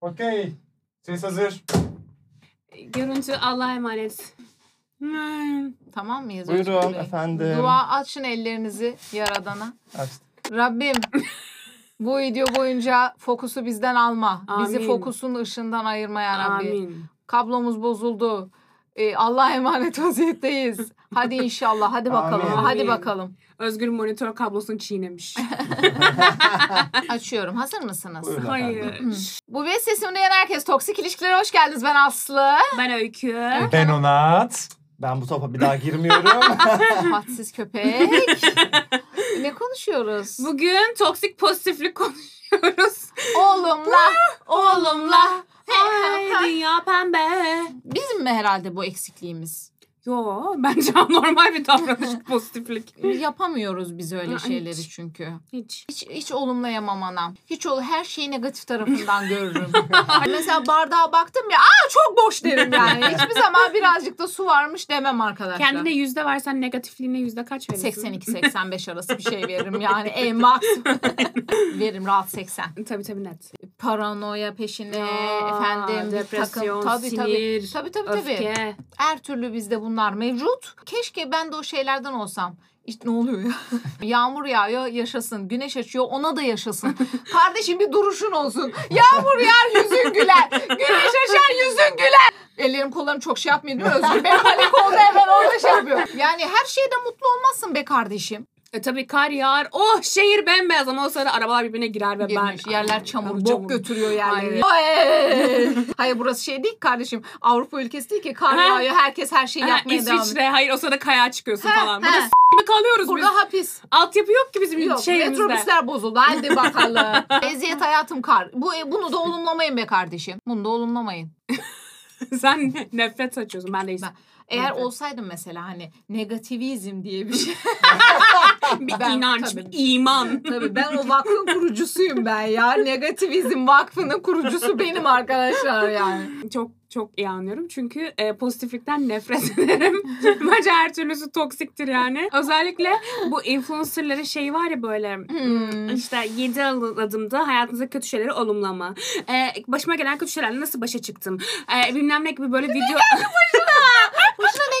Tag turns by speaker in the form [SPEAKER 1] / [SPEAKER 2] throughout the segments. [SPEAKER 1] Okey. Ses hazır.
[SPEAKER 2] Görüntü Allah'a emanet. Hmm.
[SPEAKER 3] Tamam mıyız?
[SPEAKER 4] Buyurun
[SPEAKER 3] Özgür Bey?
[SPEAKER 4] efendim.
[SPEAKER 3] Dua açın ellerinizi Yaradan'a.
[SPEAKER 4] Açtım.
[SPEAKER 3] Rabbim bu video boyunca fokusu bizden alma. Bizi
[SPEAKER 2] Amin.
[SPEAKER 3] fokusun ışığından ayırma ya Rabbi.
[SPEAKER 2] Amin.
[SPEAKER 3] Kablomuz bozuldu. Ee, Allah'a emanet vaziyetteyiz. Hadi inşallah. Hadi bakalım.
[SPEAKER 4] Amin.
[SPEAKER 3] Hadi
[SPEAKER 2] Amin.
[SPEAKER 3] bakalım.
[SPEAKER 2] Özgür monitör kablosunu çiğnemiş.
[SPEAKER 3] Açıyorum. Hazır mısınız?
[SPEAKER 4] Buyurun efendim.
[SPEAKER 2] Hayır.
[SPEAKER 3] Bu ve sesimde yan herkes. Toksik ilişkilere hoş geldiniz. Ben Aslı.
[SPEAKER 2] ben Öykü.
[SPEAKER 1] Ben Onat.
[SPEAKER 4] Ben bu topa bir daha girmiyorum.
[SPEAKER 3] Hadsiz köpek. ne konuşuyoruz?
[SPEAKER 2] Bugün toksik pozitiflik konuşuyoruz.
[SPEAKER 3] Oğlumla. Oğlumla.
[SPEAKER 2] Ay dünya pembe.
[SPEAKER 3] Bizim mi herhalde bu eksikliğimiz?
[SPEAKER 2] Yo bence normal bir davranış pozitiflik.
[SPEAKER 3] Ee, Yapamıyoruz biz öyle
[SPEAKER 2] Ay,
[SPEAKER 3] şeyleri
[SPEAKER 2] hiç.
[SPEAKER 3] çünkü.
[SPEAKER 2] Hiç.
[SPEAKER 3] Hiç, hiç olumlayamam anam. Hiç ol, her şeyi negatif tarafından görürüm. Mesela bardağa baktım ya aa çok boş derim yani. Hiçbir zaman birazcık da su varmış demem arkadaşlar.
[SPEAKER 2] Kendine yüzde versen negatifliğine yüzde kaç verirsin?
[SPEAKER 3] 82-85 arası bir şey veririm yani en max veririm rahat 80.
[SPEAKER 2] Tabii tabii net.
[SPEAKER 3] Paranoya peşine
[SPEAKER 2] Aa,
[SPEAKER 3] Ee, efendim
[SPEAKER 2] depresyon,
[SPEAKER 3] takım. Tabii, tabii.
[SPEAKER 2] sinir,
[SPEAKER 3] tabii tabii tabii.
[SPEAKER 2] Öfke.
[SPEAKER 3] Her türlü bizde bunlar mevcut. Keşke ben de o şeylerden olsam. İşte ne oluyor ya? Yağmur yağıyor yaşasın. Güneş açıyor ona da yaşasın. Kardeşim bir duruşun olsun. Yağmur yağar yüzün güler. Güneş açar yüzün güler. Ellerim kollarım çok şey yapmıyor değil mi Özgür? Ben panik oldu hemen orada şey yapıyorum. Yani her şeyde mutlu olmazsın be kardeşim.
[SPEAKER 2] E tabii kar yağar. Oh şehir bembeyaz ama o sırada arabalar birbirine girer ve
[SPEAKER 3] Girmiş.
[SPEAKER 2] ben...
[SPEAKER 3] yerler çamur,
[SPEAKER 2] Ay,
[SPEAKER 3] bok
[SPEAKER 2] çamur.
[SPEAKER 3] götürüyor
[SPEAKER 2] Aynen.
[SPEAKER 3] yerleri. Ay! Hayır burası şey değil ki kardeşim. Avrupa ülkesi değil ki. Kar
[SPEAKER 2] Ha.
[SPEAKER 3] yağıyor herkes her şeyi
[SPEAKER 2] Ha,
[SPEAKER 3] yapmaya devam ediyor.
[SPEAKER 2] İsviçre. Hayır o sırada kayağa çıkıyorsun
[SPEAKER 3] Ha,
[SPEAKER 2] falan. Burada
[SPEAKER 3] ha.
[SPEAKER 2] s- gibi kalıyoruz
[SPEAKER 3] Burada
[SPEAKER 2] biz.
[SPEAKER 3] hapis.
[SPEAKER 2] Altyapı yok ki bizim şey
[SPEAKER 3] Yok,
[SPEAKER 2] şehrimizde.
[SPEAKER 3] metrobüsler bozuldu. Hadi bakalım. Eziyet hayatım kar. Bu e, bunu da olumlamayın be kardeşim. Bunu da olumlamayın.
[SPEAKER 2] Sen ne- nefret saçıyorsun. Ben de hiç-
[SPEAKER 3] Ben- Eğer
[SPEAKER 2] Evet.
[SPEAKER 3] olsaydım mesela hani negativizm diye bir şey.
[SPEAKER 2] bir
[SPEAKER 3] Ben-
[SPEAKER 2] inanç,
[SPEAKER 3] tabii.
[SPEAKER 2] bir iman.
[SPEAKER 3] Tabii ben o vakfın kurucusuyum ben ya. Negativizm vakfının kurucusu benim arkadaşlar yani.
[SPEAKER 2] Çok çok iyi anlıyorum. Çünkü e, pozitiflikten nefret ederim. Bence her türlüsü toksiktir yani. Özellikle bu influencerların şeyi var ya böyle...
[SPEAKER 3] Hmm.
[SPEAKER 2] İşte 7 adımda hayatınıza kötü şeyleri olumlama. Ee, başıma gelen kötü şeylerle nasıl başa çıktım? Ee, bilmem ne gibi böyle video...
[SPEAKER 3] Başına ne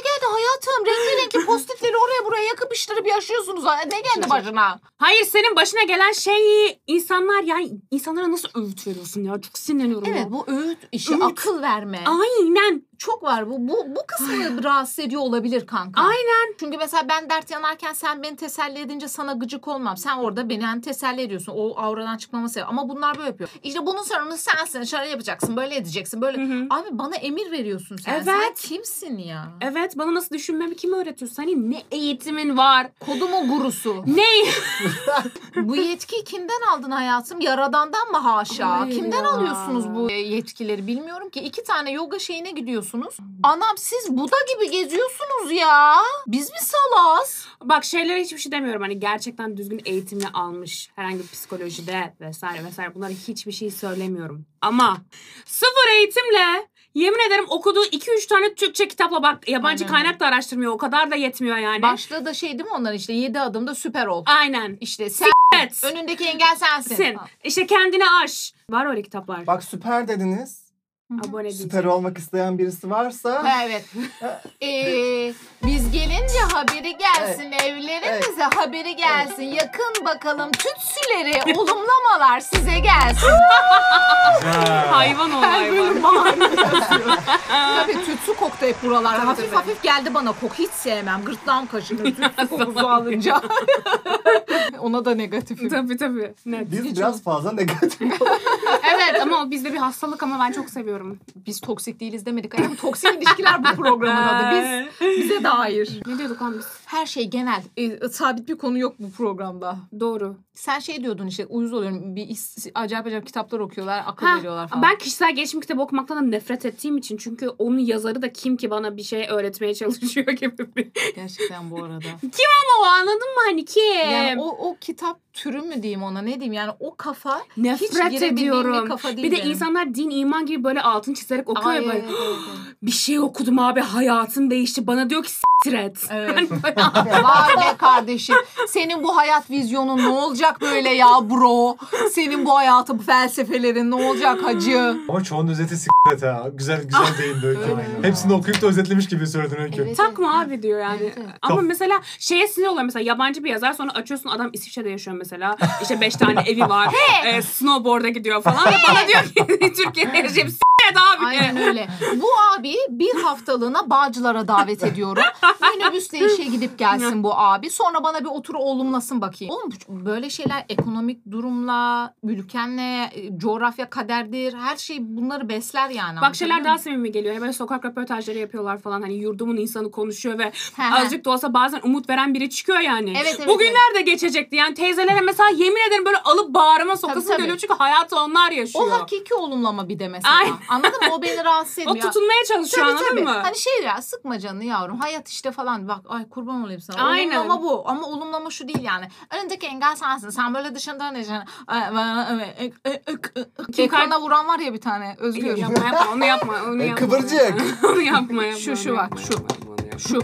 [SPEAKER 3] geldi hayatım? Renkli renkli postitleri oraya buraya yakıpıştırıp yaşıyorsunuz. Ne geldi başına?
[SPEAKER 2] Hayır senin başına gelen şey insanlar yani insanlara nasıl öğüt veriyorsun ya? Çok sinirleniyorum.
[SPEAKER 3] Evet
[SPEAKER 2] ya.
[SPEAKER 3] bu öğüt işi
[SPEAKER 2] Öğüt.
[SPEAKER 3] akıl verme.
[SPEAKER 2] Aynen.
[SPEAKER 3] Çok var bu. Bu, bu kısmı rahatsız ediyor olabilir kanka.
[SPEAKER 2] Aynen.
[SPEAKER 3] Çünkü mesela ben dert yanarken sen beni teselli edince sana gıcık olmam. Sen orada beni hani teselli ediyorsun. O avradan çıkmama sebep. Ama bunlar böyle yapıyor. İşte bunun sorumlusu sensin. Şöyle yapacaksın. Böyle edeceksin. Böyle.
[SPEAKER 2] Hı hı.
[SPEAKER 3] Abi bana emir veriyorsun sen.
[SPEAKER 2] Evet.
[SPEAKER 3] Sen kimsin ya?
[SPEAKER 2] Evet bana nasıl düşünmemi kim öğretiyor? Hani ne eğitimin var?
[SPEAKER 3] Kodumu gurusu.
[SPEAKER 2] Ne?
[SPEAKER 3] bu yetkiyi kimden aldın hayatım? Yaradandan mı haşa?
[SPEAKER 2] Hayır
[SPEAKER 3] kimden
[SPEAKER 2] ya.
[SPEAKER 3] alıyorsunuz bu yetkileri bilmiyorum ki. İki tane yoga şeyine gidiyorsunuz. Anam siz Buda gibi geziyorsunuz ya. Biz mi salaz?
[SPEAKER 2] Bak şeylere hiçbir şey demiyorum. Hani gerçekten düzgün eğitimle almış herhangi bir psikolojide vesaire vesaire bunlara hiçbir şey söylemiyorum. Ama sıfır eğitimle yemin ederim okuduğu 2-3 tane Türkçe kitapla bak yabancı
[SPEAKER 3] Aynen öyle.
[SPEAKER 2] kaynak da araştırmıyor. O kadar da yetmiyor yani.
[SPEAKER 3] Başlığı da şey değil mi onlar işte 7 adımda süper ol.
[SPEAKER 2] Aynen.
[SPEAKER 3] İşte sen
[SPEAKER 2] Evet.
[SPEAKER 3] önündeki engel sensin.
[SPEAKER 2] Sin. İşte kendini aş. Var öyle kitaplar.
[SPEAKER 4] Bak süper dediniz.
[SPEAKER 2] Abone değil.
[SPEAKER 4] Süper olmak isteyen birisi varsa
[SPEAKER 3] Ha, Evet. Ee, biz gelince haberi gelsin evlerimize haberi gelsin. Yakın bakalım tütsüleri olumlamalar size gelsin.
[SPEAKER 2] Hayvan ol
[SPEAKER 3] Her
[SPEAKER 2] hayvan.
[SPEAKER 3] bölüm bağırıyor. Tabii tütsü koktu hep buralarda. hafif hafif geldi bana kok. Hiç sevmem. Gırtlağım kaşınır tütsü kokusu alınca. Ona da negatifim.
[SPEAKER 2] Tabii tabii. Net.
[SPEAKER 4] biz biraz fazla negatif.
[SPEAKER 2] evet ama o bizde bir hastalık ama ben çok seviyorum.
[SPEAKER 3] Biz toksik değiliz demedik. Ayağım toksik ilişkiler bu
[SPEAKER 2] Ee.
[SPEAKER 3] programın adı. Biz bize dair.
[SPEAKER 2] Ne diyorduk lan biz?
[SPEAKER 3] Her şey genel. E, sabit bir konu yok bu programda.
[SPEAKER 2] Doğru.
[SPEAKER 3] Sen şey diyordun işte uyuz oluyorum. Bir is- acayip acayip kitaplar okuyorlar, akıl
[SPEAKER 2] Ha,
[SPEAKER 3] veriyorlar falan.
[SPEAKER 2] Ben kişisel gelişim kitabı okumaktan da nefret ettiğim için çünkü onun yazarı da kim ki bana bir şey öğretmeye çalışıyor gibi bir.
[SPEAKER 3] gerçekten bu arada.
[SPEAKER 2] Ama o anladın mı hani kim?
[SPEAKER 3] Yani o, o kitap türü mü diyeyim ona ne diyeyim yani o kafa hiç
[SPEAKER 2] nefret
[SPEAKER 3] girebildiğim bir
[SPEAKER 2] ediyorum.
[SPEAKER 3] kafa değil
[SPEAKER 2] Bir de
[SPEAKER 3] benim.
[SPEAKER 2] insanlar din, iman gibi böyle altın çizerek okuyor
[SPEAKER 3] Ay,
[SPEAKER 2] ya böyle.
[SPEAKER 3] evet, evet, evet.
[SPEAKER 2] Bir şey okudum abi hayatım değişti. Bana diyor ki "S- Tret.
[SPEAKER 3] Evet. Vay be kardeşim. Senin bu hayat vizyonun ne olacak böyle ya bro? Senin bu hayatı, bu felsefelerin ne olacak hacı?
[SPEAKER 1] Ama çoğunun özeti s**t ha. Güzel güzel değindi Öykü.
[SPEAKER 4] Öyle.
[SPEAKER 1] Hepsini okuyup da özetlemiş gibi söyledin Öykü.
[SPEAKER 3] Evet,
[SPEAKER 2] Takma abi diyor yani.
[SPEAKER 3] Evet, evet.
[SPEAKER 2] Ama
[SPEAKER 1] Tamam.
[SPEAKER 2] mesela şeye sinir oluyor mesela yabancı bir yazar sonra açıyorsun adam İsviçre'de yaşıyor mesela. İşte beş tane evi var. e, snowboard'a gidiyor falan. Ve bana diyor ki Türkiye'de yaşayıp s**t abi. Ee,
[SPEAKER 3] Aynen öyle. Bu abi bir haftalığına Bağcılar'a davet ediyorum. Minibüsle işe gidip gelsin bu abi. Sonra bana bir otur oğlumlasın bakayım. Oğlum bu- böyle şeyler ekonomik durumla, ülkenle, e, coğrafya kaderdir. Her şey bunları besler yani.
[SPEAKER 2] Bak şeyler
[SPEAKER 3] anlatabiliyor
[SPEAKER 2] daha samimi geliyor. Hani böyle sokak röportajları yapıyorlar falan. Hani yurdumun insanı konuşuyor ve
[SPEAKER 3] muyum? He he.
[SPEAKER 2] azıcık da olsa bazen umut veren biri çıkıyor yani.
[SPEAKER 3] Evet, evet,
[SPEAKER 2] Bugünler de geçecekti. Yani teyzelere mesela yemin ederim böyle alıp bağrıma sokasım
[SPEAKER 3] tabii.
[SPEAKER 2] geliyor. Çünkü hayatı onlar yaşıyor.
[SPEAKER 3] O hakiki olumlama bir de mesela.
[SPEAKER 2] Ay.
[SPEAKER 3] Anladın mı? O beni rahatsız
[SPEAKER 2] O
[SPEAKER 3] ediyor.
[SPEAKER 2] tutunmaya çalışıyor
[SPEAKER 3] Tabii,
[SPEAKER 2] anladın
[SPEAKER 3] tabii.
[SPEAKER 2] mı?
[SPEAKER 3] Hani şey ya sıkma canını yavrum. Hayat işte falan. Bak ay kurban olayım sana.
[SPEAKER 2] Aynen.
[SPEAKER 3] Olumlama bu. Ama olumlama şu değil yani. Önündeki engel sensin. Sen böyle dışından ne canım?
[SPEAKER 2] Kim
[SPEAKER 3] Ekrana vuran var ya bir tane. Özgür.
[SPEAKER 2] Yok, yapma yapma onu yapma onu
[SPEAKER 4] E,
[SPEAKER 2] yapma.
[SPEAKER 4] kıvırcık.
[SPEAKER 2] onu yapma yapma.
[SPEAKER 3] Şu,
[SPEAKER 2] onu
[SPEAKER 3] şu
[SPEAKER 2] yapma,
[SPEAKER 3] bak, şu.
[SPEAKER 2] yapma, onu yapma.
[SPEAKER 3] Şu.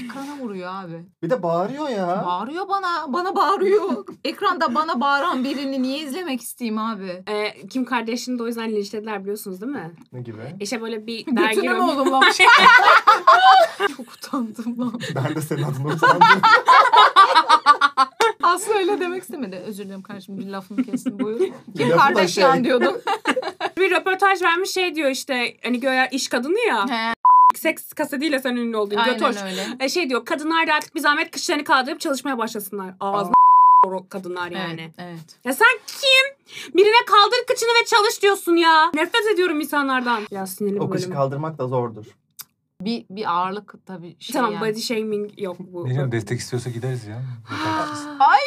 [SPEAKER 3] Ekrana vuruyor abi.
[SPEAKER 4] Bir de bağırıyor ya.
[SPEAKER 3] Bağırıyor bana. Bana bağırıyor. Ekranda bana bağıran birini niye izlemek isteyeyim abi?
[SPEAKER 2] Ee, Kim Kardashian'ı da o yüzden linçlediler biliyorsunuz değil mi?
[SPEAKER 4] Ne gibi?
[SPEAKER 2] İşte böyle bir dergi
[SPEAKER 3] Götünü mü
[SPEAKER 2] röportajı.
[SPEAKER 3] olumlamış? Çok utandım lan.
[SPEAKER 4] Ben de senin adına utandım.
[SPEAKER 3] Aslı öyle demek istemedi. Özür dilerim kardeşim bir lafını kestim buyur. Kim
[SPEAKER 4] Lafı da
[SPEAKER 3] kardeş
[SPEAKER 4] şey.
[SPEAKER 3] yan diyordum.
[SPEAKER 2] bir röportaj vermiş şey diyor işte hani göya iş kadını ya.
[SPEAKER 3] He.
[SPEAKER 2] Seks kasetiyle sen ünlü oldun. Götoş.
[SPEAKER 3] Aynen öyle.
[SPEAKER 2] E, şey diyor kadınlar da artık bir zahmet kışlarını kaldırıp çalışmaya başlasınlar. Ağzına o kadınlar yani.
[SPEAKER 3] Evet, evet.
[SPEAKER 2] Ya sen kim? Birine kaldır kıçını ve çalış diyorsun ya. Nefret ediyorum insanlardan. Ya sinirli
[SPEAKER 4] o
[SPEAKER 2] bu
[SPEAKER 4] kışı
[SPEAKER 2] bölüm.
[SPEAKER 4] kaldırmak da zordur.
[SPEAKER 3] Bir, bir ağırlık tabii şey
[SPEAKER 2] Tamam
[SPEAKER 3] yani.
[SPEAKER 2] body shaming yok bu.
[SPEAKER 5] Bilmiyorum destek istiyorsa gideriz ya.
[SPEAKER 3] Ay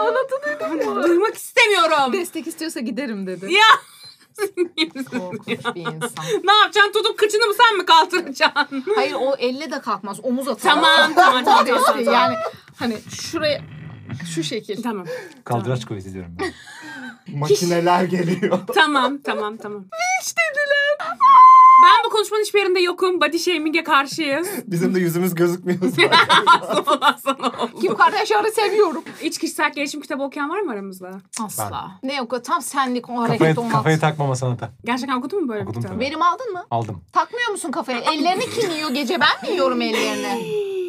[SPEAKER 3] anlatın
[SPEAKER 2] Duymak istemiyorum.
[SPEAKER 3] destek istiyorsa giderim dedi.
[SPEAKER 2] Ya.
[SPEAKER 3] Korkunç bir insan.
[SPEAKER 2] ne yapacaksın? Tutup kıçını mı sen mi kaldıracaksın?
[SPEAKER 3] Hayır o elle de kalkmaz. Omuz atar.
[SPEAKER 2] tamam tamam tamam. tamam,
[SPEAKER 3] Neyse,
[SPEAKER 2] tamam.
[SPEAKER 3] yani hani şuraya şu şekil.
[SPEAKER 2] Tamam.
[SPEAKER 5] Kaldıraç kuvveti diyorum ben.
[SPEAKER 4] Makineler geliyor.
[SPEAKER 2] Tamam tamam tamam. Ben bu konuşmanın hiçbir yerinde yokum. Body shaming'e karşıyız.
[SPEAKER 4] Bizim de yüzümüz gözükmüyor zaten.
[SPEAKER 2] Sana sana oldu.
[SPEAKER 3] Kim Kardashian'ı seviyorum.
[SPEAKER 2] İç kişisel gelişim kitabı okuyan var mı aramızda?
[SPEAKER 3] Asla. Ne yok tam senlik o
[SPEAKER 5] Kafayı,
[SPEAKER 3] hareket olmaz.
[SPEAKER 5] kafayı takmama sanata.
[SPEAKER 2] Gerçekten okudun mu böyle
[SPEAKER 5] Okudum
[SPEAKER 2] bir kitabı?
[SPEAKER 5] tabii.
[SPEAKER 3] Benim aldın mı?
[SPEAKER 5] Aldım.
[SPEAKER 3] Takmıyor musun kafaya? Ellerini kim yiyor gece? Ben mi yiyorum ellerini?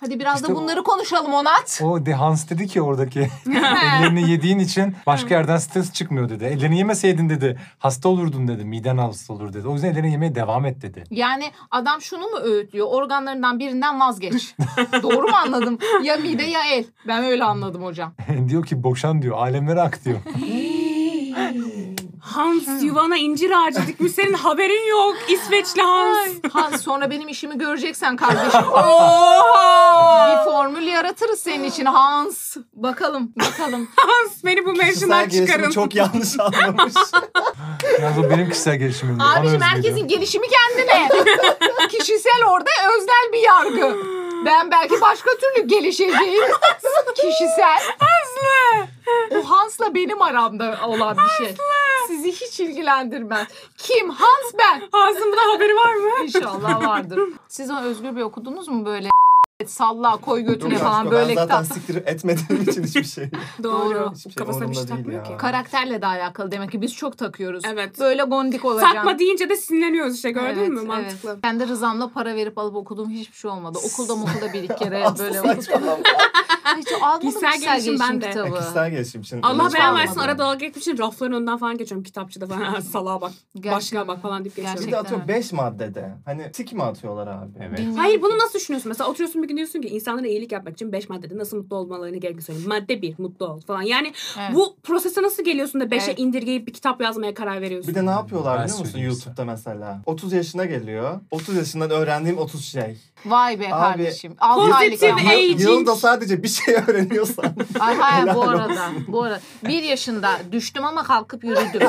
[SPEAKER 3] Hadi biraz da
[SPEAKER 5] İşte o-
[SPEAKER 3] bunları konuşalım Onat.
[SPEAKER 5] O de Hans dedi ki oradaki ellerini yediğin için başka yerden stres çıkmıyor dedi. Ellerini yemeseydin dedi hasta olurdun dedi. Miden hasta olur dedi. O yüzden ellerini yemeye devam et dedi.
[SPEAKER 3] Yani adam şunu mu öğütlüyor? Organlarından birinden vazgeç. Doğru mu anladım? Ya mide ya el. Ben öyle anladım hocam.
[SPEAKER 5] diyor ki boşan diyor. Alemlere ak diyor.
[SPEAKER 2] Hans yuvana incir ağacı dikmiş. Senin haberin yok. İsveçli Hans.
[SPEAKER 3] Ha, sonra benim işimi göreceksen kardeşim. Bir formül yaratırız senin için Hans. Bakalım, bakalım.
[SPEAKER 2] Hans beni bu mevsimden
[SPEAKER 4] Kişisel
[SPEAKER 2] çıkarın.
[SPEAKER 4] gelişimi çok yanlış anlamış.
[SPEAKER 5] Yalnız o benim kişisel gelişimim. diyor. Bana
[SPEAKER 3] Abiciğim
[SPEAKER 5] özgü
[SPEAKER 3] herkesin
[SPEAKER 5] diyor.
[SPEAKER 3] gelişimi kendine. Kişisel orada özel bir yargı. Ben belki başka türlü gelişeceğim. Kişisel. Hanslı. O Hans'la benim aramda olan bir şey. Sizi hiç ilgilendirmez. Kim? Hans ben.
[SPEAKER 2] Hans'ın buna haberi var mı?
[SPEAKER 3] İnşallah vardır. Siz o Özgür Bey okudunuz mu böyle? Salla koy
[SPEAKER 4] Yok
[SPEAKER 3] götüne
[SPEAKER 4] aşkım,
[SPEAKER 3] falan
[SPEAKER 4] ben
[SPEAKER 3] böyle
[SPEAKER 4] zaten
[SPEAKER 3] kitap.
[SPEAKER 4] siktir etmediğim için hiçbir şey.
[SPEAKER 2] Doğru.
[SPEAKER 4] Hiçbir şey
[SPEAKER 2] Kafasına bir şey
[SPEAKER 4] umurumda değil
[SPEAKER 2] takmıyor
[SPEAKER 4] ya.
[SPEAKER 2] ki.
[SPEAKER 3] Karakterle de alakalı demek ki biz çok takıyoruz.
[SPEAKER 2] Evet.
[SPEAKER 3] Böyle gondik olacağım.
[SPEAKER 2] Takma deyince de sinirleniyoruz işte gördün
[SPEAKER 3] Evet,
[SPEAKER 2] mü mantıklı.
[SPEAKER 3] Evet. Ben de rızamla para verip alıp okuduğum hiçbir şey olmadı. Okulda okulda bir iki kere
[SPEAKER 4] Aslı
[SPEAKER 3] böyle
[SPEAKER 4] saçmalama.
[SPEAKER 3] hiç almadım
[SPEAKER 2] Kişisel
[SPEAKER 3] kişisel,
[SPEAKER 2] gelişim
[SPEAKER 3] gelişim
[SPEAKER 2] ben de.
[SPEAKER 3] kitabı.
[SPEAKER 4] Kişisel gelişim için.
[SPEAKER 2] Allah
[SPEAKER 4] hiç
[SPEAKER 2] belamı
[SPEAKER 4] anlamadım.
[SPEAKER 2] versin arada dalga geçmişim rafların önünden falan geçiyorum kitapçıda falan. Ha, Salağa bak.
[SPEAKER 3] Gerçekten.
[SPEAKER 2] Başlığa bak falan deyip geçiyorum.
[SPEAKER 4] Bir de atıyor
[SPEAKER 3] Gerçekten.
[SPEAKER 4] 5 maddede. Hani tik mi atıyorlar abi?
[SPEAKER 5] Evet.
[SPEAKER 3] Bilmiyorum.
[SPEAKER 2] Hayır bunu nasıl düşünüyorsun? Mesela oturuyorsun bir gün diyorsun ki insanlara iyilik yapmak için 5 maddede nasıl mutlu olmalarını gerekli söyleyeyim. Madde 1 mutlu ol falan. Yani
[SPEAKER 3] Evet.
[SPEAKER 2] bu prosese nasıl geliyorsun da 5'e
[SPEAKER 3] Evet.
[SPEAKER 2] indirgeyip bir kitap yazmaya karar veriyorsun?
[SPEAKER 4] Bir de ne yapıyorlar
[SPEAKER 5] Ben
[SPEAKER 4] biliyor musun
[SPEAKER 5] söyleyeyim size.
[SPEAKER 4] YouTube'da mesela? 30 yaşına geliyor. 30 yaşından öğrendiğim 30 şey.
[SPEAKER 3] Vay be
[SPEAKER 4] Abi,
[SPEAKER 3] kardeşim. Altı aylık
[SPEAKER 2] Pozitif
[SPEAKER 3] ama.
[SPEAKER 2] ey- Aging.
[SPEAKER 4] Yılda sadece bir şey öğreniyorsan.
[SPEAKER 3] Ay hayır bu
[SPEAKER 4] Helal
[SPEAKER 3] arada. Bu arada. Bir yaşında düştüm ama kalkıp yürüdüm.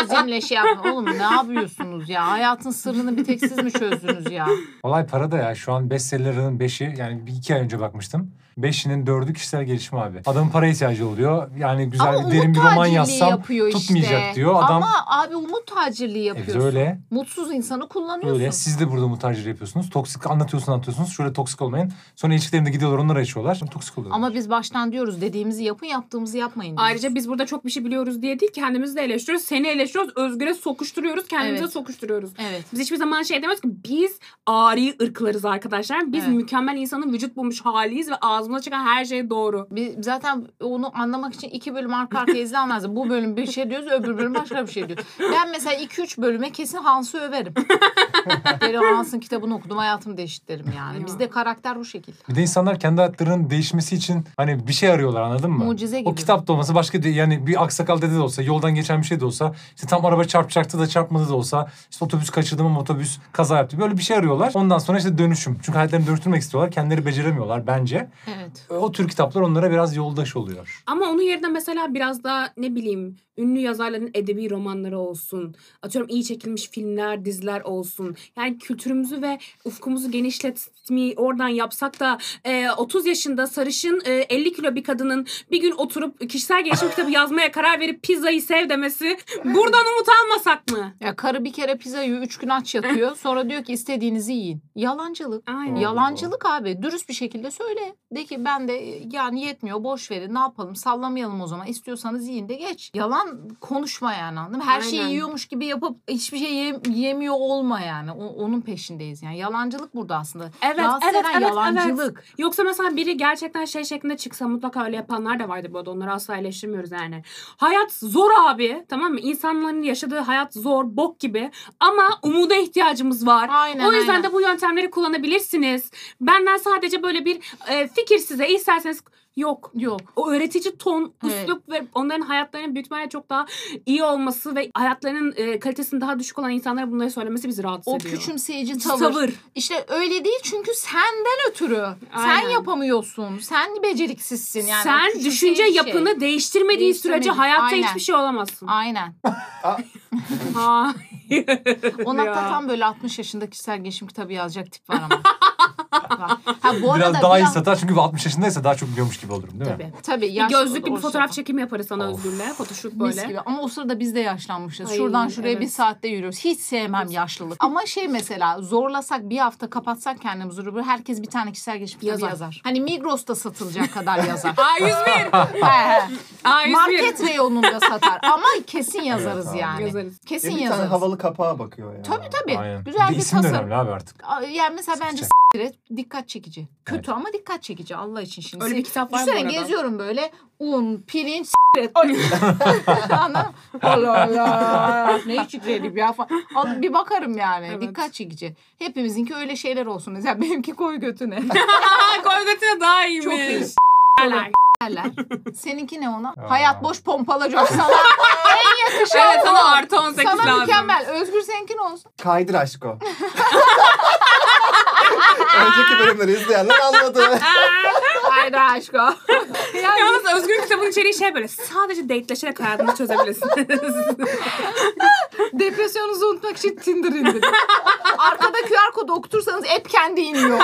[SPEAKER 3] Azimle şey yaptım. Oğlum ne yapıyorsunuz ya? Hayatın sırrını bir tek siz mi çözdünüz ya?
[SPEAKER 5] Olay parada ya. Şu an bestsellerinin 5'i yani bir iki ay önce bakmıştım. Beşinin dördü kişisel gelişim abi. Adamın para ihtiyacı oluyor. Yani güzel
[SPEAKER 3] Ama
[SPEAKER 5] bir derin
[SPEAKER 3] umut
[SPEAKER 5] bir roman
[SPEAKER 3] tacirliği
[SPEAKER 5] yazsam
[SPEAKER 3] yapıyor işte.
[SPEAKER 5] tutmayacak diyor. Adam-
[SPEAKER 3] Ama abi umut tacirliği
[SPEAKER 5] evet,
[SPEAKER 3] yapıyorsun.
[SPEAKER 5] E öyle.
[SPEAKER 3] Mutsuz insanı kullanıyorsun.
[SPEAKER 5] Öyle. Siz de burada mutajir yapıyorsunuz. Toksik anlatıyorsunuz anlatıyorsunuz. Şöyle toksik olmayın. Sonra ilişkilerinde gidiyorlar onları açıyorlar. Sonra toksik oluyor.
[SPEAKER 3] Ama biz baştan diyoruz dediğimizi yapın yaptığımızı yapmayın. diyoruz.
[SPEAKER 2] Ayrıca biz burada çok bir şey biliyoruz diye değil kendimizi de eleştiriyoruz. Seni eleştiriyoruz. Özgür'e sokuşturuyoruz. Kendimize
[SPEAKER 3] Evet.
[SPEAKER 2] sokuşturuyoruz.
[SPEAKER 3] evet.
[SPEAKER 2] Biz hiçbir zaman şey demiyoruz ki biz ari ırklarız arkadaşlar. Biz
[SPEAKER 3] Evet.
[SPEAKER 2] mükemmel insanın vücut bulmuş haliyiz ve ağzımıza çıkan her şey doğru.
[SPEAKER 3] Biz zaten onu anlamak için iki bölüm arka arkaya izlenmez. Bu bölüm bir şey diyoruz, öbür bölüm başka bir şey diyoruz. Ben mesela 2-3 bölüme kesin Hans'ı överim. Geri Hans'ın kitabını okudum, hayatım değişti derim yani. Bizde karakter bu şekil.
[SPEAKER 5] Bir de insanlar kendi hayatlarının değişmesi için hani bir şey arıyorlar anladın mı?
[SPEAKER 3] Mucize gibi.
[SPEAKER 5] O kitap da olmasa başka de- yani bir aksakal dede de olsa yoldan geçen bir şey de olsa işte tam araba çarpacaktı da çarpmadı da olsa işte otobüs kaçırdım ama otobüs kaza yaptı. Böyle bir şey arıyorlar. Ondan sonra işte dönüşüm. Çünkü hayatlarını dönüştürmek istiyorlar. Kendileri beceremiyorlar bence.
[SPEAKER 3] Evet.
[SPEAKER 5] E, O tür kitaplar onlara biraz yoldaş oluyor.
[SPEAKER 2] Ama onun yerine mesela biraz daha ne bileyim ünlü yazarların edebi romanları olsun. Atıyorum iyi çekilmiş filmler, diziler olsun. Yani kültürümüzü ve ufkumuzu genişletmeyi oradan yapsak da e, 30 yaşında sarışın e, 50 kilo bir kadının bir gün oturup kişisel gelişim kitabı yazmaya karar verip pizzayı sev demesi buradan umut almasak mı?
[SPEAKER 3] Ya karı bir kere pizza yiyor, üç gün aç yatıyor. Sonra diyor ki istediğinizi yiyin. Yalancılık.
[SPEAKER 2] Aynen.
[SPEAKER 5] Ya-
[SPEAKER 3] Yalancılık abi. Dürüst bir şekilde söyle. De ki ben de e, yani yetmiyor boş verin ne yapalım sallamayalım o zaman. İstiyorsanız yiyin de geç. Yalan konuşma yani anladın mı? Her şeyi
[SPEAKER 2] Aynen.
[SPEAKER 3] yiyormuş gibi yapıp hiçbir şey yem- yemiyor olma yani. O- onun peşindeyiz yani. Yalancılık burada aslında.
[SPEAKER 2] Evet,
[SPEAKER 3] Rahatsız
[SPEAKER 2] evet,
[SPEAKER 3] eden
[SPEAKER 2] evet,
[SPEAKER 3] yalancılık.
[SPEAKER 2] Yoksa mesela biri gerçekten şey şeklinde çıksa mutlaka öyle yapanlar da vardı bu arada. Onları asla eleştirmiyoruz yani. Hayat zor abi tamam mı? İnsanların yaşadığı hayat zor, bok gibi. Ama umuda ihtiyacımız var.
[SPEAKER 3] Aynen,
[SPEAKER 2] o yüzden
[SPEAKER 3] aynen.
[SPEAKER 2] de bu yöntemleri kullanabilirsiniz. Benden sadece böyle bir e, fikir size isterseniz yok.
[SPEAKER 3] Yok.
[SPEAKER 2] O öğretici ton,
[SPEAKER 3] Evet.
[SPEAKER 2] üslup ve onların hayatlarının büyük ihtimalle çok daha iyi olması ve hayatlarının e, kalitesinin daha düşük olan insanlara bunları söylemesi bizi rahatsız
[SPEAKER 3] O
[SPEAKER 2] ediyor.
[SPEAKER 3] küçümseyici
[SPEAKER 2] Tavır.
[SPEAKER 3] tavır. İşte öyle değil çünkü senden ötürü.
[SPEAKER 2] Aynen.
[SPEAKER 3] Sen yapamıyorsun. Sen beceriksizsin yani. O
[SPEAKER 2] Sen
[SPEAKER 3] küçümseyici
[SPEAKER 2] düşünce
[SPEAKER 3] şey.
[SPEAKER 2] yapını değiştirmediği sürece
[SPEAKER 3] Değiştirmedi-
[SPEAKER 2] hayatta
[SPEAKER 3] Aynen.
[SPEAKER 2] hiçbir şey olamazsın.
[SPEAKER 3] Aynen.
[SPEAKER 2] Ha.
[SPEAKER 3] Onakta
[SPEAKER 2] Ya.
[SPEAKER 3] tam böyle 60 yaşında kişisel gelişim kitabı yazacak tip var ama. Var. ha, bu arada
[SPEAKER 5] Biraz daha iyi
[SPEAKER 3] biraz-
[SPEAKER 5] satar çünkü 60 yaşındaysa daha çok biliyormuş gibi olurum değil
[SPEAKER 3] Tabii.
[SPEAKER 5] mi?
[SPEAKER 3] Tabii.
[SPEAKER 2] Bir
[SPEAKER 3] yaş-
[SPEAKER 2] gözlüklü bir
[SPEAKER 3] orası-
[SPEAKER 2] fotoğraf çekimi yaparız sana
[SPEAKER 5] Of.
[SPEAKER 2] Özgür'le. Photoshoot
[SPEAKER 3] Mis
[SPEAKER 2] böyle.
[SPEAKER 3] gibi. Ama o sırada biz de yaşlanmışız.
[SPEAKER 2] Ay,
[SPEAKER 3] Şuradan şuraya bir
[SPEAKER 2] evet.
[SPEAKER 3] saatte yürüyoruz. Hiç sevmem yaşlılık. Ama şey mesela zorlasak bir hafta kapatsak kendimizi rubur. Herkes bir tane kişisel gelişim kitabı
[SPEAKER 2] Yazar.
[SPEAKER 3] yazar. Hani Migros'ta satılacak kadar yazar.
[SPEAKER 2] A101.
[SPEAKER 3] He, he.
[SPEAKER 2] A101.
[SPEAKER 3] Market reyonunda satar. Ama kesin yazarız
[SPEAKER 4] Evet,
[SPEAKER 3] yani.
[SPEAKER 2] Yazarız.
[SPEAKER 3] Kesin
[SPEAKER 5] E,
[SPEAKER 4] Ya bir tane
[SPEAKER 3] yazarız.
[SPEAKER 4] havalı kapağa bakıyor ya.
[SPEAKER 3] Tabii tabii.
[SPEAKER 5] Aynen.
[SPEAKER 3] Güzel
[SPEAKER 5] de
[SPEAKER 3] bir
[SPEAKER 5] isim de
[SPEAKER 3] tasarım.
[SPEAKER 5] önemli abi artık.
[SPEAKER 3] Aa, Yani mesela bence
[SPEAKER 5] Sıkacak.
[SPEAKER 3] s**tir et, dikkat çekici. Kötü ama dikkat çekici Allah için şimdi.
[SPEAKER 2] Öyle bir kitap var bu
[SPEAKER 3] Düşünsene
[SPEAKER 2] arada.
[SPEAKER 3] geziyorum böyle un, pirinç, s**tir et. Ay. Anladın mı? Allah Allah. Ne içiklerim ya falan. Al, Bir bakarım yani.
[SPEAKER 2] Evet.
[SPEAKER 3] Dikkat çekici. Hepimizinki öyle şeyler olsun. Mesela benimki koy götüne.
[SPEAKER 2] Aa, Kolgatine daha iyiymiş.
[SPEAKER 3] Çok iyi
[SPEAKER 2] Helal.
[SPEAKER 3] derler. Seninki ne ona?
[SPEAKER 5] Aa.
[SPEAKER 3] Hayat boş pompalacak sana. en yakışan
[SPEAKER 2] Evet
[SPEAKER 3] o.
[SPEAKER 2] sana artı 18
[SPEAKER 3] Sana
[SPEAKER 2] lazım.
[SPEAKER 3] mükemmel. Özgür seninki ne olsun?
[SPEAKER 4] Kaydır aşk o. Önceki bölümleri izleyenler anladı.
[SPEAKER 3] Haydi aşk o. Yani
[SPEAKER 2] Yalnız Özgür kitabın içeriği şey böyle sadece dateleşerek hayatını çözebilirsiniz.
[SPEAKER 3] Depresyonunuzu unutmak için Tinder indirin. Arkada QR kodu okutursanız hep kendi iniyor.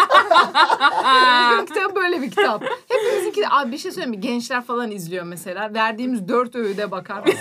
[SPEAKER 3] Özgür'ün kitabı böyle bir kitap. Hepimizinki abi bir şey söyleyeyim mi? Gençler falan izliyor mesela. Verdiğimiz dört öğüde bakar.
[SPEAKER 4] Abi ya.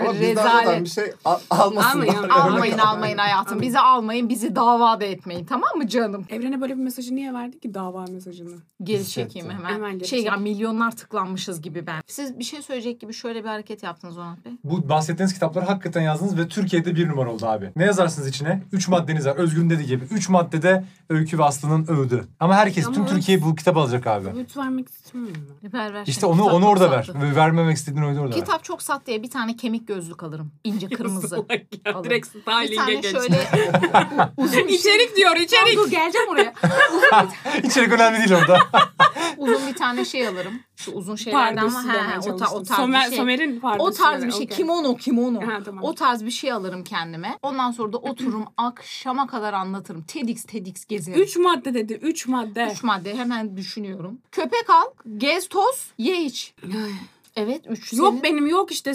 [SPEAKER 4] Ama bizden
[SPEAKER 3] Rezalet.
[SPEAKER 4] zaten bir şey al- almasınlar.
[SPEAKER 2] Almayın,
[SPEAKER 3] almayın almayın hayatım. Bizi almayın. Bizi davada etmeyin. Tamam mı canım?
[SPEAKER 2] Evrene böyle bir mesajı niye verdi ki dava mesajını?
[SPEAKER 3] Geri
[SPEAKER 4] Hissettim.
[SPEAKER 3] çekeyim hemen.
[SPEAKER 2] Hemen geri
[SPEAKER 3] şey ya
[SPEAKER 2] çek.
[SPEAKER 3] milyonlar tıklanmışız gibi ben. Siz bir şey söyleyecek gibi şöyle bir hareket yaptınız Onat Bey.
[SPEAKER 5] Bu bahsettiğiniz kitapları hakikaten yazdınız ve Türkiye'de bir numara oldu abi. Ne yazarsınız içine? Üç maddeniz var. Özgür'ün dediği gibi. Üç maddede Öykü ve Aslı'nın övdü. Ama herkes,
[SPEAKER 2] Ama
[SPEAKER 5] tüm
[SPEAKER 2] Öz-
[SPEAKER 5] Türkiye bu kitabı alacak abi.
[SPEAKER 2] Öğüt vermek istemiyorum.
[SPEAKER 3] Ver, ver
[SPEAKER 5] İşte
[SPEAKER 3] şimdi.
[SPEAKER 5] onu
[SPEAKER 3] Kitap
[SPEAKER 5] onu
[SPEAKER 3] çok
[SPEAKER 5] orada ver.
[SPEAKER 3] sattı.
[SPEAKER 5] Vermemek istediğin oyunu orada ver.
[SPEAKER 3] Kitap çok sat diye bir tane kemik gözlük alırım. İnce kırmızı. Alın.
[SPEAKER 2] Direkt
[SPEAKER 3] bir
[SPEAKER 2] styling'e
[SPEAKER 3] tane
[SPEAKER 2] geç.
[SPEAKER 3] şöyle uzun bir şey.
[SPEAKER 2] İçerik diyor içerik.
[SPEAKER 3] Dur geleceğim oraya.
[SPEAKER 5] İçerik önemli değil orada.
[SPEAKER 3] Uzun bir tane şey alırım. Şu uzun şeylerden var.
[SPEAKER 2] Pardesü demeye
[SPEAKER 3] Ha, o, ta- o
[SPEAKER 2] çalıştım.
[SPEAKER 3] tarz
[SPEAKER 2] Somer-
[SPEAKER 3] bir şey.
[SPEAKER 2] Somer'in pardesü.
[SPEAKER 3] o tarz bir
[SPEAKER 2] demeye,
[SPEAKER 3] şey.
[SPEAKER 2] okey.
[SPEAKER 3] Kimono kimono.
[SPEAKER 2] Ha, tamam.
[SPEAKER 3] O tarz bir şey alırım kendime. Ondan sonra da otururum akşama kadar anlatırım. TEDx TEDx gezerim. Üç,
[SPEAKER 2] Üç madde dedi. Üç madde.
[SPEAKER 3] madde hemen düşünüyorum. Köpek al, gez toz, ye iç. Evet üç.
[SPEAKER 2] Yok
[SPEAKER 3] senin.
[SPEAKER 2] benim yok işte.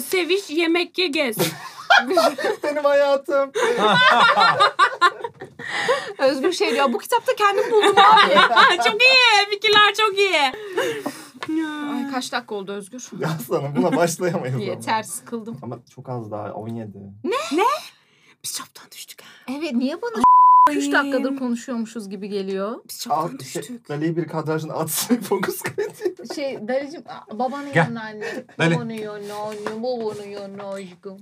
[SPEAKER 2] Seviş, yemek ye, gez.
[SPEAKER 4] Benim hayatım.
[SPEAKER 3] Özgür şey diyor bu kitapta kendim buldum abi.
[SPEAKER 2] çok iyi. Fikirler çok iyi.
[SPEAKER 3] Ay, kaç dakika oldu Özgür?
[SPEAKER 4] Aslanım buna başlayamayız.
[SPEAKER 3] Yeter sıkıldım.
[SPEAKER 4] Ama çok az daha 17.
[SPEAKER 2] Biz çaptan düştük. ha.
[SPEAKER 3] Evet niye bana 3 dakikadır konuşuyormuşuz gibi geliyor.
[SPEAKER 2] Biz
[SPEAKER 4] Al
[SPEAKER 2] çaptan
[SPEAKER 4] şey,
[SPEAKER 2] düştük.
[SPEAKER 4] Dali'yi bir kadrajın atsın fokus kaydı.
[SPEAKER 3] Şey Dalicim babanı
[SPEAKER 5] Gel.
[SPEAKER 3] yanına anne.
[SPEAKER 5] Dali.
[SPEAKER 3] Babanı yanına anne. Babanı yanına aşkım.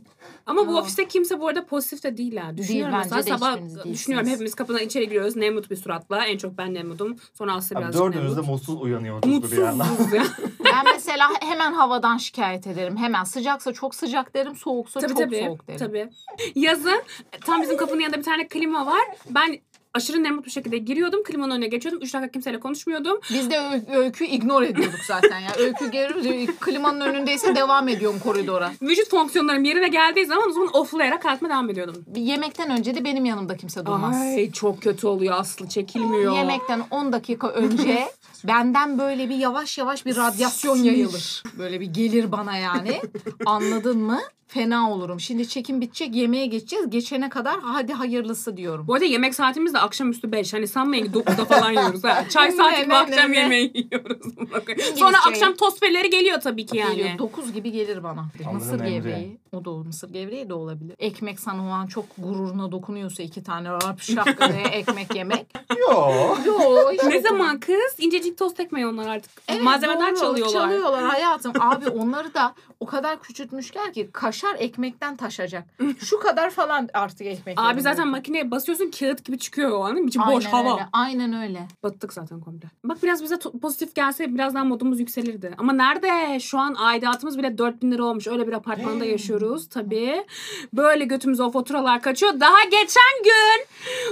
[SPEAKER 2] Ama bu
[SPEAKER 3] Aa.
[SPEAKER 2] ofiste kimse bu arada pozitif de değil ha. Düşünüyorum
[SPEAKER 3] bence
[SPEAKER 2] mesela
[SPEAKER 3] de
[SPEAKER 2] sabah
[SPEAKER 3] hiçbiriniz değilsiniz.
[SPEAKER 2] düşünüyorum hepimiz kapıdan içeri giriyoruz. Nemut bir suratla. En çok ben Nemut'um. Sonra Aslı
[SPEAKER 4] Abi
[SPEAKER 2] birazcık
[SPEAKER 4] dördümüz de
[SPEAKER 2] Nemut.
[SPEAKER 4] mutsuz uyanıyoruz bir yandan.
[SPEAKER 2] Mutsuzuz ya.
[SPEAKER 3] Ben mesela hemen havadan şikayet ederim. Hemen sıcaksa çok sıcak derim, soğuksa
[SPEAKER 2] tabii
[SPEAKER 3] çok
[SPEAKER 2] tabii.
[SPEAKER 3] soğuk derim.
[SPEAKER 2] tabii. Yazın e, tam bizim kapının yanında bir tane klima var. Ben aşırı Nemut bir şekilde giriyordum. Klimanın önüne geçiyordum. Üç dakika kimseyle konuşmuyordum.
[SPEAKER 3] Biz de Ö- öykü ignore ediyorduk zaten ya. Öykü gelir e, klimanın önündeyse devam ediyorum koridora.
[SPEAKER 2] Vücut fonksiyonlarım yerine geldiği zaman o zaman offlayarak hayatıma devam ediyordum.
[SPEAKER 3] Bir Yemekten önce de benim yanımda kimse durmaz.
[SPEAKER 2] Ay çok kötü oluyor Aslı çekilmiyor.
[SPEAKER 3] Yemekten 10 dakika önce benden böyle bir yavaş yavaş bir radyasyon yayılır. Böyle bir gelir bana yani. Anladın mı? Fena olurum. Şimdi çekim bitecek, yemeğe geçeceğiz. Geçene kadar hadi hayırlısı diyorum.
[SPEAKER 2] Bu arada yemek saatimiz de akşamüstü 5. Hani sanmayın ki 9'da falan yiyoruz. Ha. Çay saati gibi
[SPEAKER 3] Ne, ne,
[SPEAKER 2] akşam
[SPEAKER 3] ne, ne.
[SPEAKER 2] yemeği yiyoruz. Sonra
[SPEAKER 3] çayı.
[SPEAKER 2] akşam tosfeleri geliyor tabii ki yani.
[SPEAKER 3] şey. Geliyor. 9 gibi gelir bana.
[SPEAKER 4] Alırım
[SPEAKER 3] mısır
[SPEAKER 4] Emre.
[SPEAKER 3] gevreği. O da olur. Mısır gevreği de olabilir. Ekmek sana o an çok gururuna dokunuyorsa iki tane rap şak diye ekmek yemek.
[SPEAKER 4] Yo.
[SPEAKER 3] Yo,
[SPEAKER 2] Ne
[SPEAKER 3] hiç dokunmuyor.
[SPEAKER 2] zaman kız? İncecik tost ekmeği onlar artık.
[SPEAKER 3] Evet,
[SPEAKER 2] Malzemeden
[SPEAKER 3] doğru.
[SPEAKER 2] çalıyorlar.
[SPEAKER 3] Çalıyorlar hayatım. Abi onları da o kadar küçültmüşler ki kaşar ekmekten taşacak. Şu kadar falan artık ekmek.
[SPEAKER 2] Abi
[SPEAKER 3] yerim
[SPEAKER 2] zaten
[SPEAKER 3] diyor.
[SPEAKER 2] makineye basıyorsun kağıt gibi çıkıyor o an. İçi
[SPEAKER 3] Aynen
[SPEAKER 2] boş hava.
[SPEAKER 3] Öyle, aynen öyle.
[SPEAKER 2] Battık zaten komple. Bak biraz bize to- pozitif gelse biraz daha modumuz yükselirdi. Ama nerede? Şu an aidatımız bile 4000 lira olmuş. Öyle bir apartmanda yaşıyoruz tabii. Böyle götümüze o faturalar kaçıyor. Daha geçen gün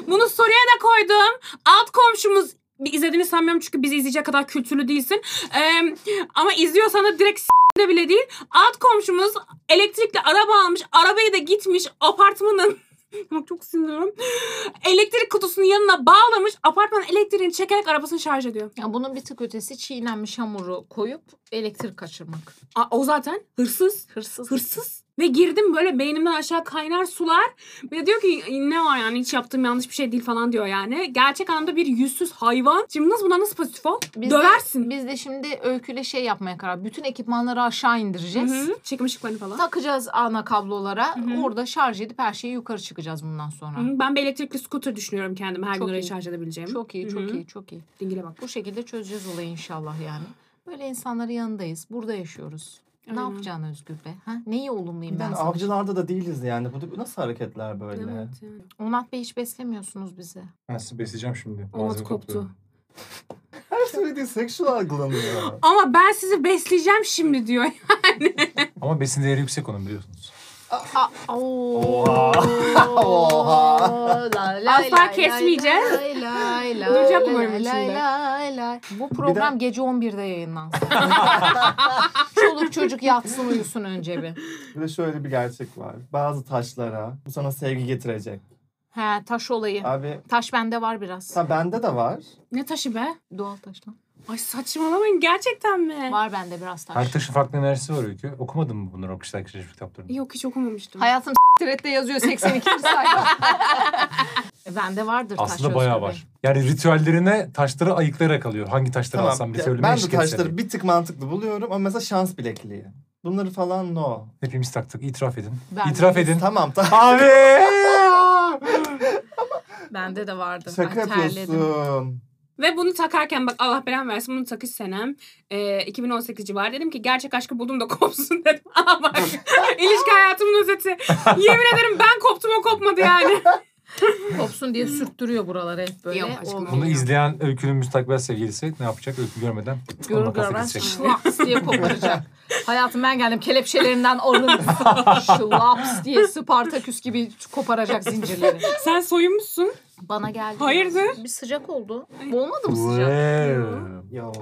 [SPEAKER 2] bunu soruya da koydum. Alt komşumuz bir izlediğini sanmıyorum çünkü bizi izleyecek kadar kültürlü değilsin. Ee, ama izliyorsan da direkt s- de bile değil. Alt komşumuz elektrikli araba almış. Arabayı da gitmiş apartmanın Bak çok sinirleniyorum. Elektrik kutusunun yanına bağlamış. Apartman elektriğini çekerek arabasını şarj ediyor.
[SPEAKER 3] Ya bunun bir tık ötesi çiğnenmiş hamuru koyup elektrik kaçırmak.
[SPEAKER 2] Aa, o zaten hırsız.
[SPEAKER 3] Hırsız.
[SPEAKER 2] Hırsız. Ve girdim böyle beynimden aşağı kaynar sular. Ve diyor ki ne var yani hiç yaptığım yanlış bir şey değil falan diyor yani. Gerçek anlamda bir yüzsüz hayvan. Şimdi nasıl buna nasıl pozitif ol?
[SPEAKER 3] Biz
[SPEAKER 2] Döversin.
[SPEAKER 3] De, biz de şimdi öyküyle şey yapmaya karar. Bütün ekipmanları aşağı indireceğiz.
[SPEAKER 2] Hı-hı. Çekim ışıklarını falan.
[SPEAKER 3] Takacağız ana kablolara.
[SPEAKER 2] Hı hı.
[SPEAKER 3] Orada şarj edip her şeyi yukarı çıkacağız bundan sonra.
[SPEAKER 2] Hı, Ben bir elektrikli scooter düşünüyorum kendime her
[SPEAKER 3] Çok
[SPEAKER 2] gün orayı
[SPEAKER 3] iyi.
[SPEAKER 2] şarj edebileceğim.
[SPEAKER 3] Çok iyi, çok
[SPEAKER 2] Hı hı.
[SPEAKER 3] iyi, çok iyi.
[SPEAKER 2] Dingile bak.
[SPEAKER 3] Bu şekilde çözeceğiz olayı inşallah yani. Böyle insanların yanındayız. Burada yaşıyoruz. Ne
[SPEAKER 2] Aynen.
[SPEAKER 3] yapacaksın Özgür be? Ha? Neyi olumluyum ben
[SPEAKER 4] Yani
[SPEAKER 3] sana?
[SPEAKER 4] avcılarda da değiliz yani. Bu, bu nasıl hareketler böyle?
[SPEAKER 2] Evet, yani.
[SPEAKER 3] Onat Bey hiç beslemiyorsunuz bizi.
[SPEAKER 5] Ben sizi besleyeceğim şimdi.
[SPEAKER 2] Umut
[SPEAKER 5] Malzeme
[SPEAKER 2] koptu.
[SPEAKER 5] topluyorum.
[SPEAKER 4] Her söylediği seksüel algılanıyor.
[SPEAKER 2] Ama ben sizi besleyeceğim şimdi diyor.
[SPEAKER 5] Ama besin değeri yüksek onun biliyorsunuz.
[SPEAKER 3] Aa, oo.
[SPEAKER 4] Oha. Oha.
[SPEAKER 3] La, la,
[SPEAKER 2] Asla
[SPEAKER 3] la, la,
[SPEAKER 2] kesmeyeceğiz.
[SPEAKER 3] la, la, la,
[SPEAKER 2] Duracak
[SPEAKER 3] la,
[SPEAKER 2] bu bölüm
[SPEAKER 3] la,
[SPEAKER 2] içinde.
[SPEAKER 3] la, la. Bu program gece 11'de yayınlansın. Çoluk çocuk yatsın uyusun önce bir.
[SPEAKER 4] bir de şöyle bir gerçek var. Bazı taşlara bu sana sevgi getirecek.
[SPEAKER 3] He taş olayı.
[SPEAKER 4] Abi
[SPEAKER 3] Taş bende var biraz.
[SPEAKER 4] ha bende de var.
[SPEAKER 2] ne taşı be?
[SPEAKER 3] Doğal taş lan.
[SPEAKER 2] Ay saçmalamayın gerçekten mi?
[SPEAKER 3] Var bende biraz taş.
[SPEAKER 5] Her taşın farklı enerjisi var öykü. Okumadın mı bunları o kişiler keşif kitaplarını?
[SPEAKER 2] Yok hiç okumamıştım.
[SPEAKER 3] Hayatım s**tirette yazıyor 82. sayfa. E, Bende vardır taş
[SPEAKER 5] Aslında
[SPEAKER 3] Özgür
[SPEAKER 5] bayağı
[SPEAKER 3] Bey.
[SPEAKER 5] var. Yani ritüellerine taşları ayıklayarak alıyor. Hangi taşları alsam
[SPEAKER 4] ya-
[SPEAKER 5] ritüelime
[SPEAKER 4] ben de
[SPEAKER 5] eşlik etse
[SPEAKER 4] taşları
[SPEAKER 5] diye.
[SPEAKER 4] bir tık mantıklı buluyorum ama mesela şans bilekliği. Bunları falan no.
[SPEAKER 5] Hepimiz taktık. İtiraf edin.
[SPEAKER 3] Ben
[SPEAKER 5] İtiraf
[SPEAKER 3] de-
[SPEAKER 5] edin.
[SPEAKER 4] Tamam tamam.
[SPEAKER 5] Abi!
[SPEAKER 3] Bende de vardı.
[SPEAKER 4] Şaka
[SPEAKER 3] Ay, terledim.
[SPEAKER 4] yapıyorsun.
[SPEAKER 2] Ve bunu takarken bak Allah belamı versin bunu takış senem. Ee, 2018 civarı dedim ki gerçek aşkı buldum da kopsun dedim. Aa bak ilişki hayatımın özeti. Yemin ederim ben koptum o kopmadı yani.
[SPEAKER 3] Kopsun diye sürttürüyor buraları hep böyle.
[SPEAKER 2] Yok aşkım,
[SPEAKER 3] Olmuyor.
[SPEAKER 5] Bunu izleyen Öykü'nün müstakbel sevgilisi ne yapacak? Öykü görmeden
[SPEAKER 3] Görür
[SPEAKER 5] makasla
[SPEAKER 3] görmez
[SPEAKER 5] kesecek.
[SPEAKER 3] şlaps diye koparacak. Hayatım ben geldim kelepçelerinden alın. şlaps diye Spartaküs gibi koparacak zincirleri.
[SPEAKER 2] Sen soyunmuşsun.
[SPEAKER 3] Bana geldi.
[SPEAKER 2] Hayırdır?
[SPEAKER 3] Bir sıcak oldu. Olmadı mı sıcak?
[SPEAKER 5] Wow.
[SPEAKER 4] Yo.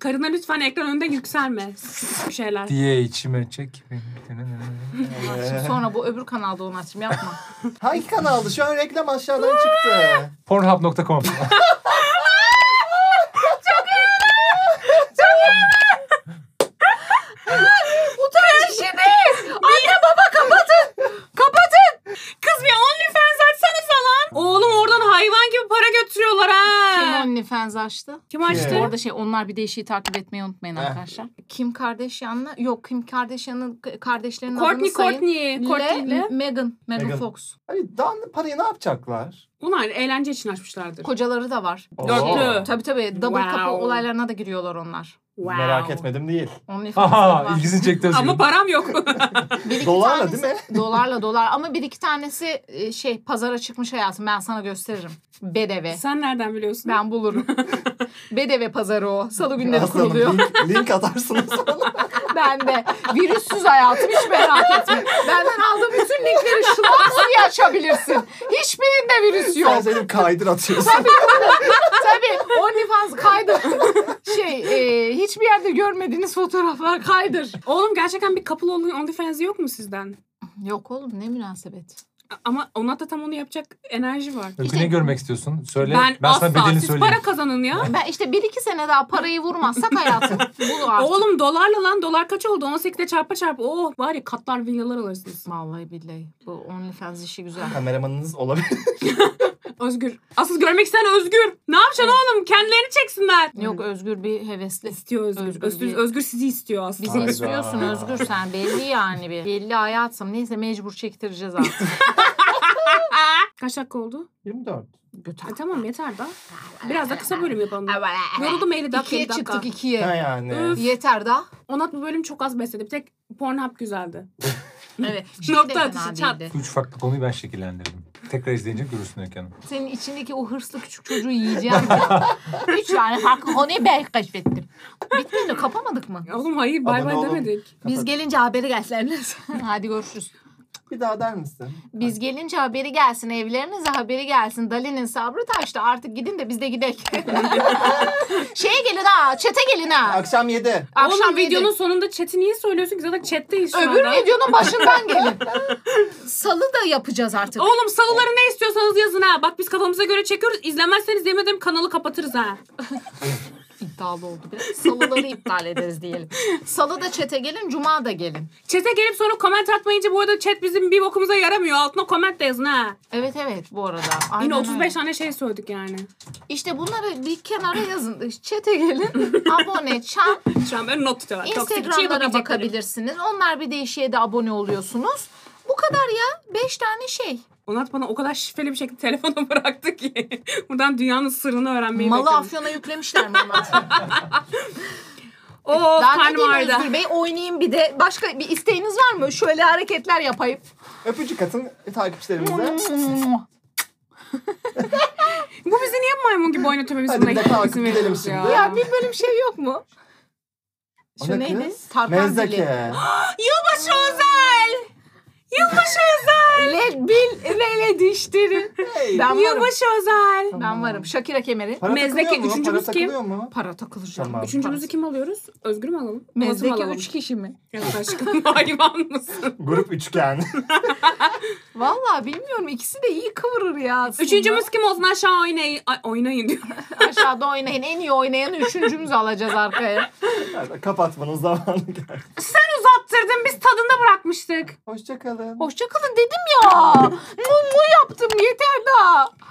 [SPEAKER 2] Karına lütfen ekran önünde yükselme. Bir şeyler.
[SPEAKER 5] diye içime çek. beni.
[SPEAKER 3] Şimdi sonra bu öbür kanalda onu açayım yapma.
[SPEAKER 4] Hangi kanaldı? Şu an reklam aşağıdan çıktı.
[SPEAKER 5] Pornhub.com
[SPEAKER 3] Utanç işini! Anne baba kapatın! Kapatın!
[SPEAKER 2] Kız bir OnlyFans açsanıza lan. Oğlum oradan hayır
[SPEAKER 3] OnlyFans açtı.
[SPEAKER 2] Kim
[SPEAKER 4] Evet.
[SPEAKER 2] açtı?
[SPEAKER 3] Bu
[SPEAKER 4] Kim?
[SPEAKER 3] arada şey onlar bir de işi takip etmeyi unutmayın
[SPEAKER 4] Heh.
[SPEAKER 3] arkadaşlar. Kim Kardashian'la yok Kim Kardashian'ın k- kardeşlerinin
[SPEAKER 2] Courtney
[SPEAKER 3] adını sayın.
[SPEAKER 2] Courtney. Courtney'le.
[SPEAKER 3] Megan, Megan
[SPEAKER 4] Meghan.
[SPEAKER 3] Fox.
[SPEAKER 4] Hani daha ne- parayı ne yapacaklar?
[SPEAKER 2] Onlar eğlence için açmışlardır.
[SPEAKER 3] Kocaları da var.
[SPEAKER 4] Oo.
[SPEAKER 2] Dörtlü.
[SPEAKER 3] Tabii tabii double
[SPEAKER 2] Wow.
[SPEAKER 3] couple olaylarına da giriyorlar onlar.
[SPEAKER 2] Wow.
[SPEAKER 4] Merak etmedim değil.
[SPEAKER 3] OnlyFans'ta
[SPEAKER 5] Aha
[SPEAKER 3] var.
[SPEAKER 5] ilgisini çekti Özgür.
[SPEAKER 2] Ama param yok.
[SPEAKER 3] Bir iki
[SPEAKER 4] Dolarla
[SPEAKER 3] tanesi-
[SPEAKER 4] değil mi?
[SPEAKER 3] Dolarla dolar ama bir iki tanesi e, şey pazara çıkmış hayatım ben sana gösteririm. Bedeve.
[SPEAKER 2] Sen nereden biliyorsun?
[SPEAKER 3] Ben bulurum. Bedeve pazarı o. Salı günleri
[SPEAKER 4] Aslanım
[SPEAKER 3] kuruluyor.
[SPEAKER 4] link, link atarsınız.
[SPEAKER 3] Ben de virüssüz hayatım hiç merak etme. Benden aldığım bütün linkleri şılap diye açabilirsin. Hiçbirinde virüs yok.
[SPEAKER 4] Sen senin kaydır atıyorsun.
[SPEAKER 3] Tabii OnlyFans kaydır. Şey e, hiçbir yerde görmediğiniz fotoğraflar kaydır.
[SPEAKER 2] Oğlum gerçekten bir couple olun OnlyFans'i yok mu sizden?
[SPEAKER 3] Yok oğlum ne münasebet.
[SPEAKER 2] A- Ama ona da tam onu yapacak enerji var.
[SPEAKER 5] Öykü
[SPEAKER 3] İşte-
[SPEAKER 5] ne görmek istiyorsun? Söyle.
[SPEAKER 2] Ben,
[SPEAKER 5] Ben,
[SPEAKER 2] asla.
[SPEAKER 5] sana bedelini
[SPEAKER 2] Siz
[SPEAKER 5] söyleyeyim.
[SPEAKER 2] para kazanın ya.
[SPEAKER 3] Ben işte bir iki sene daha parayı vurmazsak hayatım. Bul artık.
[SPEAKER 2] Oğlum dolarla lan dolar kaç oldu? 18'de çarpa çarpa. Oh var ya katlar villalar alırsınız.
[SPEAKER 3] Vallahi billahi bu OnlyFans işi güzel.
[SPEAKER 4] Kameramanınız olabilir.
[SPEAKER 2] Özgür. Asıl görmek isteyen Özgür. Ne yapacaksın oğlum? Kendilerini çeksinler.
[SPEAKER 3] Yok Özgür bir hevesli.
[SPEAKER 2] İstiyor Özgür.
[SPEAKER 3] Özgür
[SPEAKER 2] Özgür,
[SPEAKER 3] değil.
[SPEAKER 2] Özgür, sizi istiyor aslında.
[SPEAKER 3] Bizi
[SPEAKER 4] Hayda.
[SPEAKER 3] istiyorsun Özgür sen belli yani bir. Belli hayatım. Neyse mecbur çektireceğiz artık.
[SPEAKER 2] Kaç dakika oldu?
[SPEAKER 4] 24.
[SPEAKER 2] E, tamam yeter da. Biraz da kısa bölüm yapalım.
[SPEAKER 3] Yoruldum
[SPEAKER 2] Yoruldum 50 dakika.
[SPEAKER 3] İkiye
[SPEAKER 2] 50 dakika.
[SPEAKER 3] çıktık
[SPEAKER 4] Ha
[SPEAKER 3] ikiye.
[SPEAKER 4] yani.
[SPEAKER 2] Öf.
[SPEAKER 3] Yeter daha.
[SPEAKER 2] Onat bu bölüm çok az besledi. Bir tek Pornhub güzeldi.
[SPEAKER 3] Evet.
[SPEAKER 2] Nokta atışı, çat.
[SPEAKER 5] Üç farklı konuyu ben şekillendirdim. Tekrar izleyince görürsün Öykü Hanım.
[SPEAKER 3] Senin içindeki o hırslı küçük çocuğu yiyeceğim. Üç yani farklı konuyu ben keşfettim. Bitmedi mi? Kapamadık mı?
[SPEAKER 2] Oğlum hayır bay
[SPEAKER 4] Abone
[SPEAKER 2] bay
[SPEAKER 4] olun.
[SPEAKER 2] demedik.
[SPEAKER 3] Biz gelince haberi gelsin. Hadi görüşürüz.
[SPEAKER 4] Bir daha der misin?
[SPEAKER 3] Biz gelince haberi gelsin evlerinize haberi gelsin. Dali'nin sabrı taştı artık gidin de biz de gidelim. Şeye gelin ha çete gelin ha.
[SPEAKER 4] Akşam 7.
[SPEAKER 3] Akşam
[SPEAKER 2] Oğlum videonun
[SPEAKER 3] videonun
[SPEAKER 2] sonunda chat'i niye söylüyorsun ki? Zaten chat'teyiz şu
[SPEAKER 3] öbür
[SPEAKER 2] anda.
[SPEAKER 3] videonun başından gelin. Salı da yapacağız artık.
[SPEAKER 2] Oğlum salıları ne istiyorsanız yazın ha. Bak biz kafamıza göre çekiyoruz. İzlemezseniz yemin ederim kanalı kapatırız ha.
[SPEAKER 3] İddialı oldu biraz. Salıları iptal ederiz diyelim. Salı da çete gelin cuma da gelin.
[SPEAKER 2] Chat'e gelip sonra comment atmayınca bu arada chat bizim bir bokumuza yaramıyor. Altına comment de yazın ha.
[SPEAKER 3] Evet evet bu arada. Aynen
[SPEAKER 2] Yine 35
[SPEAKER 3] öyle.
[SPEAKER 2] tane şey söyledik yani.
[SPEAKER 3] İşte bunları bir kenara yazın. Çete gelin. Abone, çan,
[SPEAKER 2] Şu an böyle not tutuyorlar. Toksik şey içeriğe
[SPEAKER 3] Instagram'lara
[SPEAKER 2] bakabilecekleri.
[SPEAKER 3] bakabilirsiniz. Onlar bir değişiğe de abone oluyorsunuz. Bu kadar ya. Beş tane şey.
[SPEAKER 2] Onat bana o kadar şifreli bir şekilde telefonu bıraktı ki. Buradan dünyanın sırrını öğrenmeyi
[SPEAKER 3] Malı
[SPEAKER 2] bekliyorum.
[SPEAKER 3] Afyon'a yüklemişler mi onlar?
[SPEAKER 2] Oo
[SPEAKER 3] Daha ne
[SPEAKER 2] karnım
[SPEAKER 3] diyeyim
[SPEAKER 2] ağrıdı.
[SPEAKER 3] Özgür Bey? Oynayayım bir de. Başka bir isteğiniz var mı? Şöyle hareketler yapayım.
[SPEAKER 4] Öpücük atın takipçilerimize.
[SPEAKER 2] Bu bizi niye maymun gibi oynatıyor? Biz
[SPEAKER 4] Hadi
[SPEAKER 2] buna
[SPEAKER 4] bir dakika
[SPEAKER 2] izin
[SPEAKER 4] gidelim
[SPEAKER 2] veriyoruz
[SPEAKER 4] şimdi.
[SPEAKER 3] ya bir bölüm şey yok mu?
[SPEAKER 4] O
[SPEAKER 3] Şu
[SPEAKER 4] ne
[SPEAKER 3] neydi?
[SPEAKER 4] kız?
[SPEAKER 3] Tarkan dili.
[SPEAKER 4] Mezdeke.
[SPEAKER 2] Yılbaşı özel. Yılbaşı özel.
[SPEAKER 3] Le, bil, lele dişleri. Ben varım.
[SPEAKER 2] Yılbaşı özel.
[SPEAKER 3] Ben varım. Şakira kemeri.
[SPEAKER 4] Para
[SPEAKER 2] Mezdeke
[SPEAKER 4] takılıyor mu?
[SPEAKER 2] üçüncümüz
[SPEAKER 4] Para
[SPEAKER 2] kim?
[SPEAKER 4] takılıyor mu?
[SPEAKER 3] Para takılacağım.
[SPEAKER 4] Tamam.
[SPEAKER 2] Üçüncümüzü kim alıyoruz? Özgür mü alalım? Murat'ı
[SPEAKER 3] Mezdeki
[SPEAKER 2] mı alalım?
[SPEAKER 3] üç kişi mi?
[SPEAKER 2] Yaklaşık hayvan mısın?
[SPEAKER 4] Grup üçgen.
[SPEAKER 3] Vallahi bilmiyorum. İkisi de iyi kıvırır ya aslında.
[SPEAKER 2] Üçüncümüz kim olsun aşağı oynayın. Ay, oynayın diyor.
[SPEAKER 3] aşağıda oynayın. En iyi oynayanı üçüncümüz alacağız arkaya.
[SPEAKER 4] Kapatmanın zamanı geldi.
[SPEAKER 2] Uzattırdın biz tadında bırakmıştık.
[SPEAKER 4] Hoşçakalın.
[SPEAKER 3] Hoşçakalın dedim ya. Mumu yaptım yeter daha.